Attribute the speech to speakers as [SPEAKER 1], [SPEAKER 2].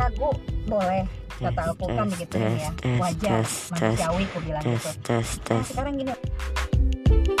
[SPEAKER 1] aku boleh kata aku kan begitu ya wajar manusiawi aku bilang gitu nah sekarang gini